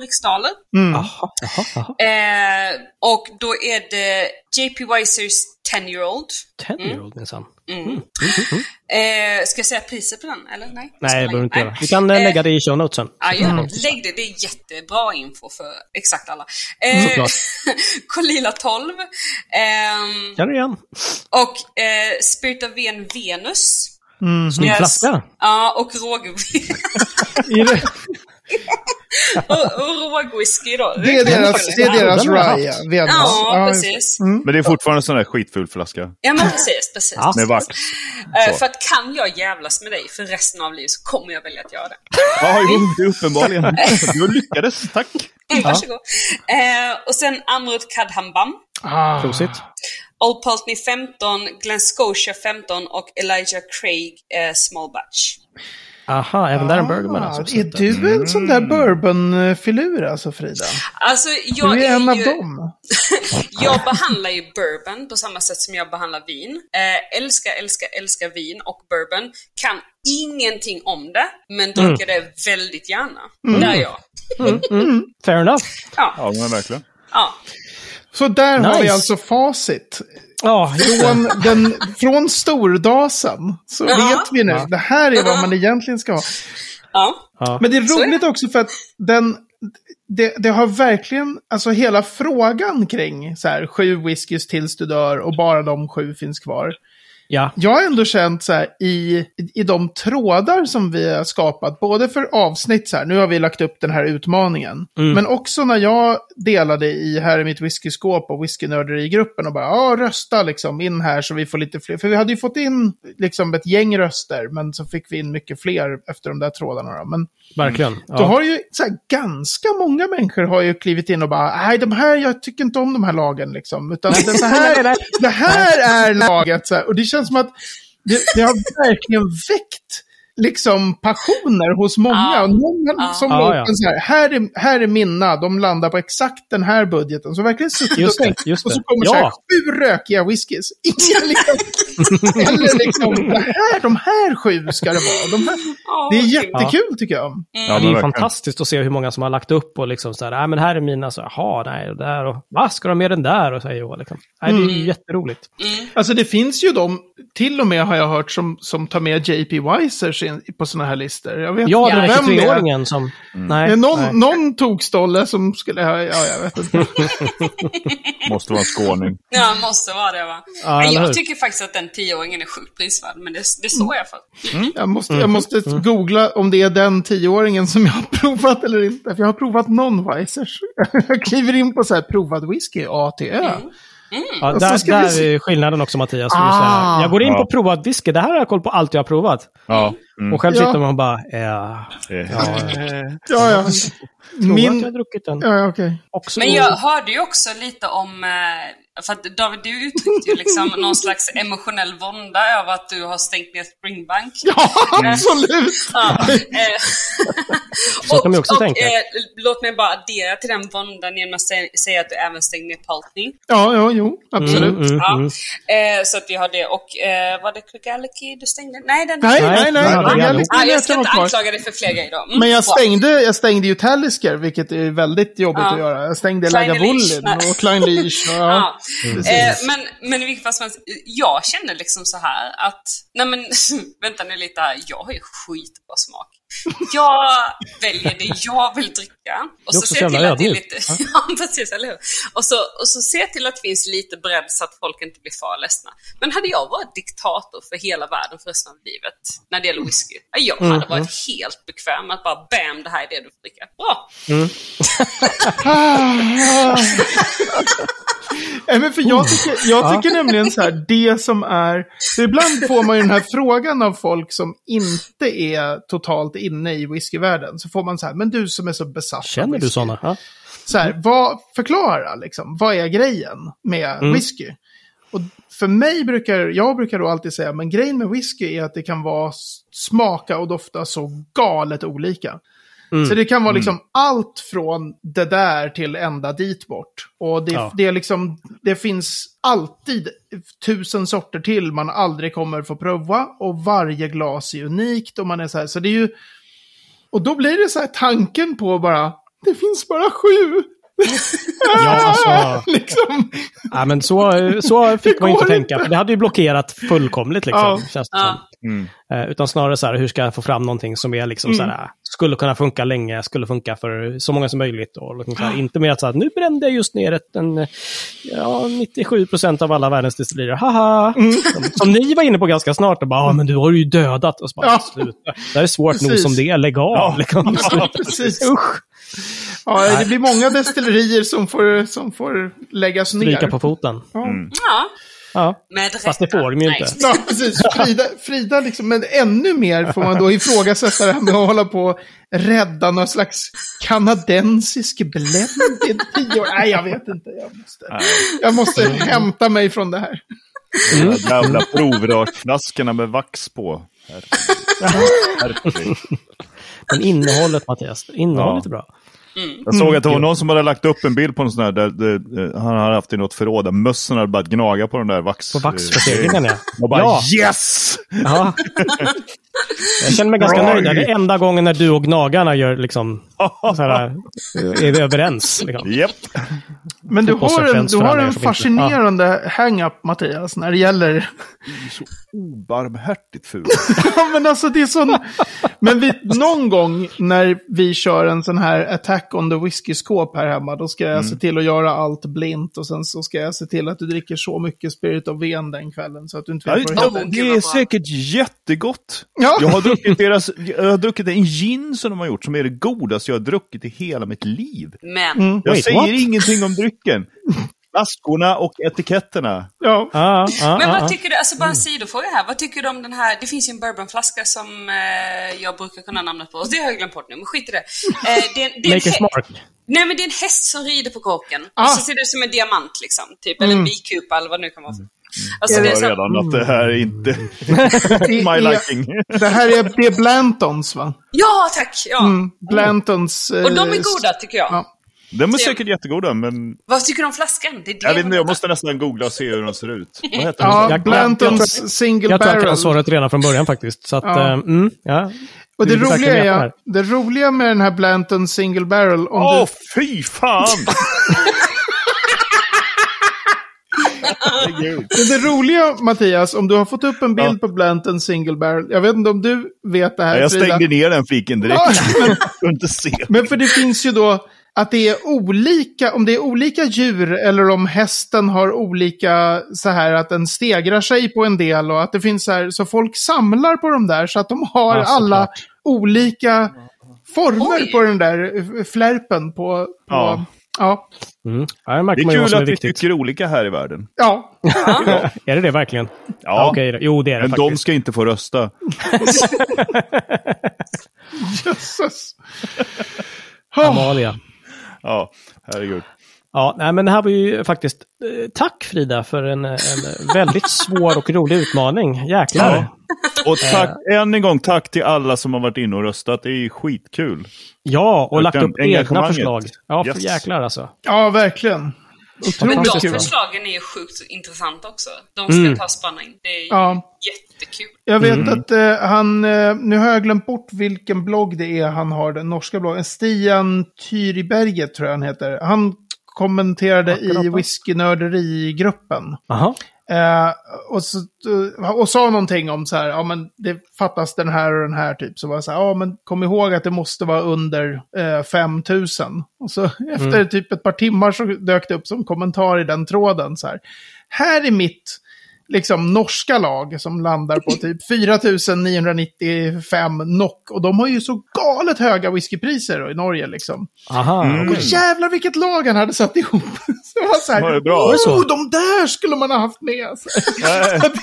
Speaker 4: riksdaler.
Speaker 1: Mm. Jaha, jaha, jaha.
Speaker 4: Eh, och då är det JP Weisers 10-year-old.
Speaker 1: Ten-year-old minsann. Mm,
Speaker 4: Eh, ska jag säga priset på den, eller? Nej,
Speaker 1: Nej, det
Speaker 4: Spelar
Speaker 1: behöver du
Speaker 4: ingen-
Speaker 1: inte göra.
Speaker 4: Nej.
Speaker 1: Vi kan eh,
Speaker 4: Eh,
Speaker 1: lägga det i show notes sen.
Speaker 4: Ja, gör det. Lägg det. Det är jättebra info för exakt alla. Eh,
Speaker 1: Mm, Såklart.
Speaker 4: Kolila 12. ehm,
Speaker 1: Känner du igen?
Speaker 4: och eh, Spirit of Ven Venus.
Speaker 1: Snygg
Speaker 4: Yes.
Speaker 1: flaska.
Speaker 4: Ja, och råg...
Speaker 3: I det-
Speaker 4: och, och rågwhisky då.
Speaker 3: Det är deras, det är deras
Speaker 1: Den har jag
Speaker 3: Raya,
Speaker 1: haft.
Speaker 3: Venus.
Speaker 4: Ja,
Speaker 3: just-
Speaker 4: precis. Mm.
Speaker 2: Mm. Men det är fortfarande en sån där skitful flaska.
Speaker 4: Ja, men precis. precis.
Speaker 1: Ja.
Speaker 2: Med vax.
Speaker 4: Eh,
Speaker 2: så.
Speaker 4: för att kan jag jävlas med dig för resten av livet så kommer jag välja att göra det.
Speaker 2: Ja, jo, det är uppenbarligen. Du lyckades, tack.
Speaker 4: Mm, varsågod. Eh, och sen Amrut Kadhambam.
Speaker 3: Ah.
Speaker 1: Prosit.
Speaker 4: Old Pulteney 15, Glen Scotia 15 och Elijah Craig eh, Small Batch.
Speaker 1: Aha, även där är en burger med
Speaker 3: Ah,
Speaker 1: alltså.
Speaker 3: Är du en sån
Speaker 4: Mm.
Speaker 3: där bourbonfilur alltså Frida?
Speaker 4: Alltså jag,
Speaker 3: Du är en
Speaker 4: är
Speaker 3: av
Speaker 4: ju,
Speaker 3: dem.
Speaker 4: jag behandlar ju bourbon på samma sätt som jag behandlar vin. Eh, älskar, älskar, älskar vin och bourbon. Kan ingenting om det, men
Speaker 1: Mm.
Speaker 4: dricker det väldigt gärna. Där är jag.
Speaker 1: Fair enough.
Speaker 4: Ja, Mm.
Speaker 2: Ja, men verkligen.
Speaker 4: ja.
Speaker 3: Så där har vi
Speaker 1: Nice.
Speaker 3: alltså facit.
Speaker 1: Ja, just det.
Speaker 3: Från, den, från stordasen så
Speaker 4: Ja.
Speaker 3: vet vi nu, det här är vad man egentligen ska ha.
Speaker 4: Ja.
Speaker 1: Ja.
Speaker 3: Men det är
Speaker 4: Så är
Speaker 3: roligt också för att den, det, det har verkligen, alltså hela frågan kring så här, sju whiskys tills du dör och bara de sju finns kvar.
Speaker 1: ja.
Speaker 3: Jag har ändå känt så här i, i de trådar som vi har skapat, både för avsnitt så här, nu har vi lagt upp den här utmaningen, men också när jag delade i här i mitt whiskyskåp och whiskynörderi-gruppen och bara, ja, rösta liksom in här så vi får lite fler, för vi hade ju fått in liksom ett gäng röster, men så fick vi in mycket fler efter de där trådarna då. Men
Speaker 1: Verkligen.
Speaker 3: då
Speaker 1: Ja.
Speaker 3: har ju så här, ganska många människor har ju klivit in och bara, nej, de här, jag tycker inte om de här lagen liksom. Utan det, det, här, det här är laget. Så här. Och det känns som att det, det har verkligen väckt liksom passioner hos många.
Speaker 4: Ja.
Speaker 3: Och någon
Speaker 4: Ja.
Speaker 3: som
Speaker 1: Ja,
Speaker 3: låter
Speaker 1: ja.
Speaker 3: så här, här är, här är mina, de landar på exakt den här budgeten. Så verkligen suttit och
Speaker 1: Just det,
Speaker 3: tänkt.
Speaker 1: just
Speaker 3: Och så
Speaker 1: det.
Speaker 3: kommer så här,
Speaker 1: Ja.
Speaker 3: sju rökiga whiskys. Inga liksom, eller liksom, det här, de här sju ska det vara. De här,
Speaker 4: Ja,
Speaker 3: det är
Speaker 4: kul.
Speaker 3: jättekul tycker jag.
Speaker 1: Ja,
Speaker 2: Ja, men
Speaker 1: det är ju
Speaker 2: verkligen.
Speaker 1: fantastiskt att se hur många som har lagt upp och liksom så här, nej men här är mina, så jaha, nej, och där och va, ska de med den där? Och så här, jo, liksom. Nej, det är
Speaker 3: Mm.
Speaker 1: ju jätteroligt.
Speaker 3: Alltså det finns ju de, till och med har jag hört, som, som tar med JP Weisers in, på sådana här listor. Jag vet
Speaker 1: Ja,
Speaker 3: inte
Speaker 1: den där
Speaker 3: vem det är.
Speaker 1: 23-åringen som...
Speaker 2: Mm.
Speaker 1: Nej, nej.
Speaker 3: Eh, Någon, någon tog Stolle som skulle, ja, ja jag vet inte.
Speaker 2: Måste vara en skåning.
Speaker 4: Ja, måste vara det va?
Speaker 1: Ja,
Speaker 4: Nej,
Speaker 1: eller hur?
Speaker 4: jag tycker faktiskt att den tioåringen är sjukt prisvärd, men det, det står jag för.
Speaker 1: Mm.
Speaker 3: Jag måste, jag måste googla om det är den tioåringen som jag har provat eller inte. För jag har provat någon Weisers. Jag kliver in på så här provad whisky, A till Ö.
Speaker 1: Ja,
Speaker 3: Och så
Speaker 1: där
Speaker 3: ska vi
Speaker 1: där
Speaker 3: se-
Speaker 1: är skillnaden också Mattias.
Speaker 3: Ah.
Speaker 1: Ah. Säga. Jag går in
Speaker 2: Ja.
Speaker 1: på provat whisky, det här har jag koll på allt jag har provat.
Speaker 2: Ja. Mm.
Speaker 1: Och själv
Speaker 3: Ja.
Speaker 1: sitter man och bara, eh,
Speaker 2: Eh,
Speaker 1: ja,
Speaker 3: Ja, ja.
Speaker 1: tror att
Speaker 3: Min,
Speaker 1: jag har druckit den.
Speaker 3: ja, ja, okej.
Speaker 1: Också.
Speaker 4: Men jag hörde ju också lite om, eh, för att David, du uttryckte ju liksom någon slags emotionell vånda över att du har stängt ner Springbank.
Speaker 3: Ja, absolut.
Speaker 4: Ja, eh,
Speaker 1: Så kan man ju också
Speaker 4: och,
Speaker 1: tänka.
Speaker 4: Och, eh, låt mig bara addera till den våndan genom att sä- säga att du även stängde ner Paltney.
Speaker 3: Ja, ja, jo, absolut.
Speaker 1: Mm, mm,
Speaker 4: Ja.
Speaker 1: mm.
Speaker 4: Eh, så att vi har det. Och eh, var det Cragality du stängde? Nej, den...
Speaker 3: Nej,
Speaker 1: Nej,
Speaker 3: nej, nej.
Speaker 1: nej,
Speaker 3: nej,
Speaker 1: det är
Speaker 3: jag,
Speaker 1: allihop.
Speaker 4: Ah, jag ska
Speaker 3: jag
Speaker 4: inte
Speaker 3: var kvar.
Speaker 4: anklaga dig för fler grejer då. Mm,
Speaker 3: Men jag
Speaker 4: bra.
Speaker 3: stängde, jag stängde ju Talisker, vilket är väldigt jobbigt
Speaker 4: Ja.
Speaker 3: att göra. Jag stängde
Speaker 4: Kleine
Speaker 3: Lagavulin
Speaker 4: Leash.
Speaker 3: och Klein Leash. Och, ja.
Speaker 4: Ja.
Speaker 1: Mm.
Speaker 4: Eh, men, men i vilket fall som helst, jag känner liksom så här att, nej men vänta nu lite här, jag har ju skitbra smak. Jag väljer det jag vill dricka.
Speaker 1: Du är
Speaker 4: Och så
Speaker 1: också
Speaker 4: ser jag
Speaker 1: så
Speaker 4: till
Speaker 1: jävla
Speaker 4: att det är
Speaker 1: ödmjuk.
Speaker 4: lite, ja precis, eller hur? Och så, och så ser jag till att det finns lite bredd så att folk inte blir för ledsna. Men hade jag varit diktator för hela världen för resten av livet, när det gäller whisky, ja, jag hade
Speaker 1: Mm.
Speaker 4: varit helt bekväm med att bara bam, det här är det du får dricka. Bra!
Speaker 3: Nej, Eh, men för
Speaker 4: oh.
Speaker 3: jag tycker, jag tycker nämligen så här, det som är... För ibland får man ju den här frågan av folk som inte är totalt inne i whiskyvärlden. Så får man så här, men du som är så besatt
Speaker 1: Känner
Speaker 3: av
Speaker 1: du
Speaker 3: whisky.
Speaker 1: sådana? Ja.
Speaker 3: Så här, vad, förklara liksom, vad är grejen med
Speaker 1: Mm.
Speaker 3: whisky? Och för mig brukar, jag brukar då alltid säga, men grejen med whisky är att det kan vara s- smaka och dofta så galet olika. Så det kan vara liksom allt från det där till ända dit bort. Och det,
Speaker 1: Ja.
Speaker 3: det, är liksom, det finns alltid tusen sorter till man aldrig kommer få prova. Och varje glas är unikt. Och man är så, här, så det är ju... Och då blir det så här tanken på bara, det finns bara sju.
Speaker 1: Ja, alltså,
Speaker 3: liksom.
Speaker 1: ja, men så, så fick
Speaker 3: Det
Speaker 1: man ju inte
Speaker 3: går
Speaker 1: tänka. För det hade ju blockerat fullkomligt liksom.
Speaker 3: Ja.
Speaker 1: Känns det
Speaker 4: Ja.
Speaker 1: som. Eh, Utan snarare så här, hur ska jag få fram någonting som är liksom så
Speaker 3: Mm.
Speaker 1: här, skulle kunna funka länge, skulle funka för så många som möjligt. Och liksom
Speaker 3: Ah.
Speaker 1: så här, inte mer att så här, nu brände jag just ner ett, en, eh, ja, 97 procent av alla världens destillerier, haha.
Speaker 3: Mm.
Speaker 1: Som, som ni var inne på ganska snart, och bara, ah, men du har ju dödat. Och så bara,
Speaker 3: Ja.
Speaker 1: sluta. Det här är svårt nog
Speaker 3: Precis.
Speaker 1: som det är, lägg av. Liksom.
Speaker 3: Ja, precis.
Speaker 1: Usch,
Speaker 3: Ja, det blir många destillerier som får, som får läggas ner.
Speaker 1: stryka på foten.
Speaker 3: Ja.
Speaker 4: Ja,
Speaker 1: Ja.
Speaker 4: med rätta.
Speaker 1: Fast det får de ju
Speaker 4: Nej.
Speaker 1: inte.
Speaker 3: Ja, precis. Frida, Frida liksom, men ännu mer får man då ifrågasätta det här med att hålla på och rädda någon slags kanadensisk blended tio år. Nej, jag vet inte. Jag måste,
Speaker 2: nej.
Speaker 3: jag måste
Speaker 1: Mm.
Speaker 3: hämta mig från det här.
Speaker 2: De där jävla provrörsflaskorna med vax på. Herregud. Herregud.
Speaker 1: Men innehållet, Mattias, innehållet
Speaker 2: Ja.
Speaker 1: är bra.
Speaker 2: Jag
Speaker 1: Mm.
Speaker 2: såg att det var någon som hade lagt upp en bild på en sån här, där, där, eh, han hade haft i något förråd, där mössen hade börjat gnaga på den där vax...
Speaker 1: På vaxförsäkringen, ja.
Speaker 2: Jag bara
Speaker 1: Ja.
Speaker 2: yes!
Speaker 1: Ja. Jag känner mig ganska
Speaker 2: Bra
Speaker 1: nöjd. där.
Speaker 2: ju.
Speaker 1: Det är enda gången när du och gnagarna gör liksom, så här, är vi eh, överens. Liksom.
Speaker 2: Japp.
Speaker 3: Men du har en,
Speaker 1: fotbollsreferens
Speaker 3: du
Speaker 1: för
Speaker 3: har
Speaker 1: alla er
Speaker 3: en
Speaker 1: som inte- Ja.
Speaker 3: fascinerande hang-up, Mattias, när det gäller...
Speaker 2: Så obarmhärtigt ful.
Speaker 3: Ja, men alltså det är sån... Men vi, någon gång när vi kör en sån här attack on the whiskey skåp här hemma, då ska jag
Speaker 1: Mm.
Speaker 3: se till att göra allt blint och sen så ska jag se till att du dricker så mycket spirit of ven den kvällen så att du inte
Speaker 2: Ja,
Speaker 3: vet vad det heter.
Speaker 4: gud,
Speaker 2: det
Speaker 4: vad
Speaker 2: är
Speaker 4: bra.
Speaker 2: säkert jättegott.
Speaker 3: Ja.
Speaker 2: Jag, har druckit deras, jag har druckit en gin som de har gjort som är det godaste jag har druckit i hela mitt liv.
Speaker 4: Men,
Speaker 2: Jag
Speaker 1: Wait,
Speaker 2: säger
Speaker 1: what?
Speaker 2: ingenting om drycken. Flaskorna och etiketterna.
Speaker 3: Ja. Mm.
Speaker 1: Ja, ja,
Speaker 4: men
Speaker 1: ja,
Speaker 4: vad
Speaker 1: ja.
Speaker 4: tycker du, alltså bara en sidofråga här, vad tycker du om den här, det finns ju en bourbonflaska som eh, jag brukar kunna namnet på, och det har jag glömt bort nu, men skit i det. Eh, det, är en- det är en
Speaker 1: Maker's
Speaker 4: hä-
Speaker 1: Mark.
Speaker 4: Nej men det är en häst som rider på kåken.
Speaker 3: Ah. Mm.
Speaker 4: Och så ser det ut som en diamant liksom. Typ, eller en bikupa eller vad det nu kan vara. Alltså,
Speaker 2: Mm. Jag
Speaker 4: det är så,
Speaker 2: hör redan att det här är inte
Speaker 1: Mm.
Speaker 3: Det
Speaker 2: my
Speaker 3: är-
Speaker 2: liking.
Speaker 3: Det här är, det är Blantons, va?
Speaker 4: ja tack! Ja.
Speaker 3: Mm, Blantons... eh,
Speaker 4: Och de är goda tycker jag.
Speaker 3: Ja.
Speaker 2: De är säkert jättegoda, men
Speaker 4: Vad tycker du om flaskan? Det är det
Speaker 2: jag, vet inte, jag
Speaker 4: undrar.
Speaker 2: måste nästan googla och se hur de ser ut. Vad heter de?
Speaker 3: Ja,
Speaker 1: Jag- jag tror-
Speaker 3: Blantons single
Speaker 1: Jag tror jag
Speaker 3: barrel.
Speaker 1: kan svaret redan från början faktiskt. Så att,
Speaker 3: Ja.
Speaker 1: eh, mm, ja.
Speaker 3: Och det
Speaker 1: Du vill verkligen
Speaker 3: roliga,
Speaker 1: veta det
Speaker 3: är,
Speaker 1: här.
Speaker 3: det roliga med den här Blanton single barrel, om
Speaker 2: Åh,
Speaker 3: du
Speaker 2: fy fan! Herregud.
Speaker 3: Men det roliga, Mattias, om du har fått upp en bild på Blanton single barrel, jag vet inte om du vet det här,
Speaker 2: Ja, jag
Speaker 3: Frida.
Speaker 2: stängde ner den fliken direkt.
Speaker 3: Ja,
Speaker 2: Jag kunde inte se.
Speaker 3: Men för det finns ju då att det är olika, om det är olika djur eller om hästen har olika så här att den stegrar sig på en del och att det finns så här, så folk samlar på de där så att de har
Speaker 1: Ja, såklart.
Speaker 3: alla olika former
Speaker 4: Oj.
Speaker 3: på den där eh, flärpen på, på ja.
Speaker 2: Ja.
Speaker 3: Ja.
Speaker 1: Mm. ja, det
Speaker 2: Det
Speaker 1: märker
Speaker 2: är
Speaker 1: man ju vad
Speaker 2: kul
Speaker 1: som är
Speaker 2: att vi
Speaker 1: viktigt.
Speaker 2: tycker olika här i världen.
Speaker 3: ja.
Speaker 1: Är det det verkligen?
Speaker 2: Ja,
Speaker 1: Okej, då. jo det är det
Speaker 2: men de
Speaker 1: faktiskt.
Speaker 2: ska inte få rösta.
Speaker 3: Jösses.
Speaker 1: Amalia.
Speaker 2: Ja, herregud.
Speaker 1: Ja, nej, men det här var ju faktiskt... eh, Tack Frida för en, eh, en väldigt svår och rolig utmaning. Jäklar.
Speaker 2: Ja. Och tack, än en gång tack till alla som har varit inne och röstat. Det är ju skitkul.
Speaker 1: Ja, och lagt
Speaker 2: Verkligen.
Speaker 1: upp egna
Speaker 2: Engagemanget.
Speaker 1: förslag. Ja, för
Speaker 2: Yes.
Speaker 1: jäklar alltså.
Speaker 3: ja, verkligen.
Speaker 4: Men
Speaker 1: Otroligt
Speaker 4: de
Speaker 1: kul.
Speaker 4: förslagen är ju sjukt intressanta också. De ska ta spanning. Det är ju
Speaker 3: Mm. Ja.
Speaker 4: jättekul.
Speaker 3: Jag vet att eh, han, eh, nu har jag glömt bort vilken blogg det är han har, den norska bloggen. Stian Tyriberget tror jag han heter. Han kommenterade i whiskynörderigruppen.
Speaker 1: Aha.
Speaker 3: Eh, och, så, eh, och sa någonting om så här, ja men det fattas den här och den här typ. Så var jag så här, ja men kom ihåg att det måste vara under eh, 5000. Och så efter
Speaker 2: Mm.
Speaker 3: typ ett par timmar så dök det upp som kommentar i den tråden så här. Här är mitt liksom norska lag som landar på typ 4995 NOK. Och de har ju så galet höga whiskypriser i Norge liksom.
Speaker 1: Aha.
Speaker 2: Mm.
Speaker 3: Och jävlar vilket lag han hade satt ihop. Så det var så här,
Speaker 2: Var det bra?
Speaker 1: Var det så?
Speaker 3: oh, de där skulle man ha haft med. Så det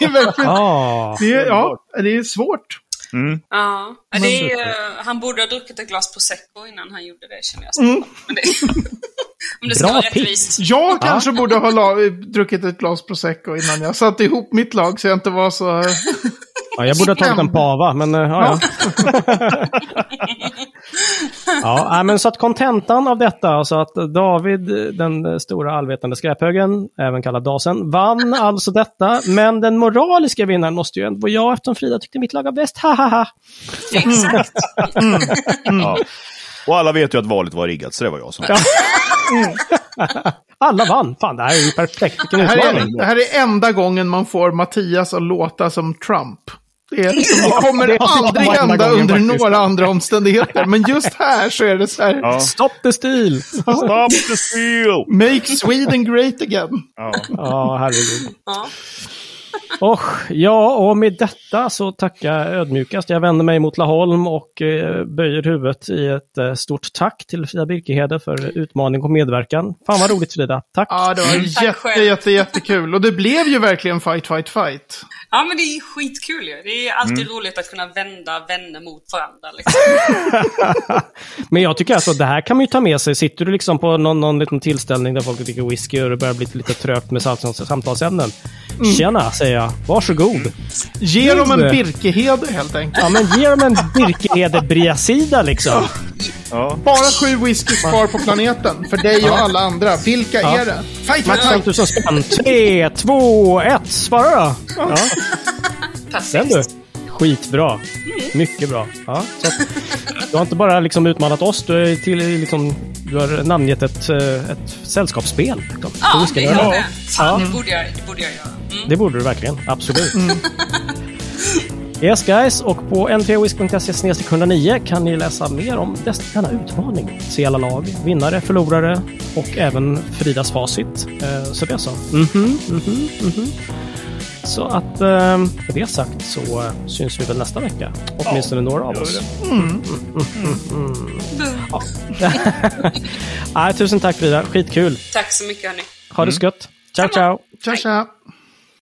Speaker 3: är verkligen,
Speaker 1: Ah.
Speaker 3: det är, ja, det är svårt.
Speaker 2: Mm.
Speaker 4: Ja. Ja, Det är, ju- han borde ha druckit ett glas prosecco innan han gjorde det känner jag. så. Men det, om det ska
Speaker 1: Mm. Bra
Speaker 4: vara
Speaker 1: tips.
Speaker 4: rättvist.
Speaker 3: Jag kanske borde ha la, druckit ett glas prosecco innan jag satte ihop mitt lag så jag inte var så...
Speaker 1: Ja, jag borde ha tagit en pava, men eh, ja, ja. ja, nej, men så att kontentan av detta, alltså att David, eh, den eh, stora allvetande skräphögen, även kallad Dasen, vann alltså detta. Men den moraliska vinnaren måste ju ändå vara jag eftersom Frida tyckte mitt lag var bäst. Hahaha!
Speaker 4: Exakt.
Speaker 2: Ja. Och alla vet ju att valet var riggat, så det var jag som
Speaker 1: Alla vann! Fan, det här är ju perfekt. Vilken
Speaker 3: Mm. Det här,
Speaker 1: utmaning!
Speaker 3: är, det här är enda gången man får Mattias att låta som Trump. Det, är, liksom- det kommer
Speaker 1: det har
Speaker 3: aldrig
Speaker 1: varit enda
Speaker 3: hända
Speaker 1: gången
Speaker 3: under
Speaker 1: faktiskt.
Speaker 3: några andra omständigheter. Men just här så är det så här.
Speaker 2: Ja.
Speaker 1: Stop the steal!
Speaker 2: Stop the steal!
Speaker 3: Make Sweden great again.
Speaker 2: Ja.
Speaker 1: Ja, herregud.
Speaker 4: Ja.
Speaker 1: Och, ja, och med detta så tackar jag ödmjukast. Jag vänder mig mot Laholm och eh, böjer huvudet i ett eh, stort tack till Frida Birkehede för utmaning och medverkan. Fan vad roligt Frida, tack!
Speaker 3: Ja, det var
Speaker 4: Tack
Speaker 3: jätte,
Speaker 4: själv.
Speaker 3: jätte, jättekul. Och det blev ju verkligen fight, fight, fight.
Speaker 4: ja, men det är skitkul ju. Det är alltid
Speaker 1: Mm.
Speaker 4: roligt att kunna vända vänner mot varandra. Liksom.
Speaker 1: Men jag tycker alltså det här kan man ju ta med sig. Sitter du liksom på någon, någon liten tillställning där folk dricker whisky och det börjar bli lite trögt med sam- samtalsämnen. Tjena, säger jag. Varsågod!
Speaker 3: Mm. Ge dem en
Speaker 1: det.
Speaker 3: Birkehede helt enkelt.
Speaker 1: Ja, men ge dem en Birkehede-briasida liksom.
Speaker 2: Ja.
Speaker 3: Bara sju whiskys kvar på planeten. För dig och alla andra. Vilka är det? Fight, fight,
Speaker 1: Max 5
Speaker 3: fight!
Speaker 1: 000 spänn. 3, 2, 1. Svara då! Ja. Den
Speaker 4: Perfekt.
Speaker 1: du. Skitbra. Mycket bra. Ja, så att, du har inte bara liksom utmanat oss, du har ju till, liksom, du har namngett ett, eh, ett sällskapsspel. Liksom. Så
Speaker 4: Ja,
Speaker 1: vi ska
Speaker 4: det
Speaker 1: göra
Speaker 4: gör
Speaker 1: det.
Speaker 4: det. Fan,
Speaker 1: Ja.
Speaker 4: det borde jag, det borde jag göra. Mm.
Speaker 1: Det borde du verkligen, absolut.
Speaker 2: Mm.
Speaker 1: Yes guys, och på n3whisk.se 109 E kan ni läsa mer om dess- denna utmaning. Se alla lag, vinnare, förlorare och även Fridas facit. Eh, Så det så. Mhm, mhm, mhm. Så att eh, med det sagt så eh, syns vi väl nästa vecka. Åtminstone några av
Speaker 2: gör
Speaker 1: oss.
Speaker 2: vi
Speaker 4: Mm.
Speaker 1: Ja. Nej, tusen tack Frida, skitkul.
Speaker 4: Tack så mycket hörni.
Speaker 2: Mm.
Speaker 1: Ha det så gött. Ciao, ciao.
Speaker 3: Tja, tja.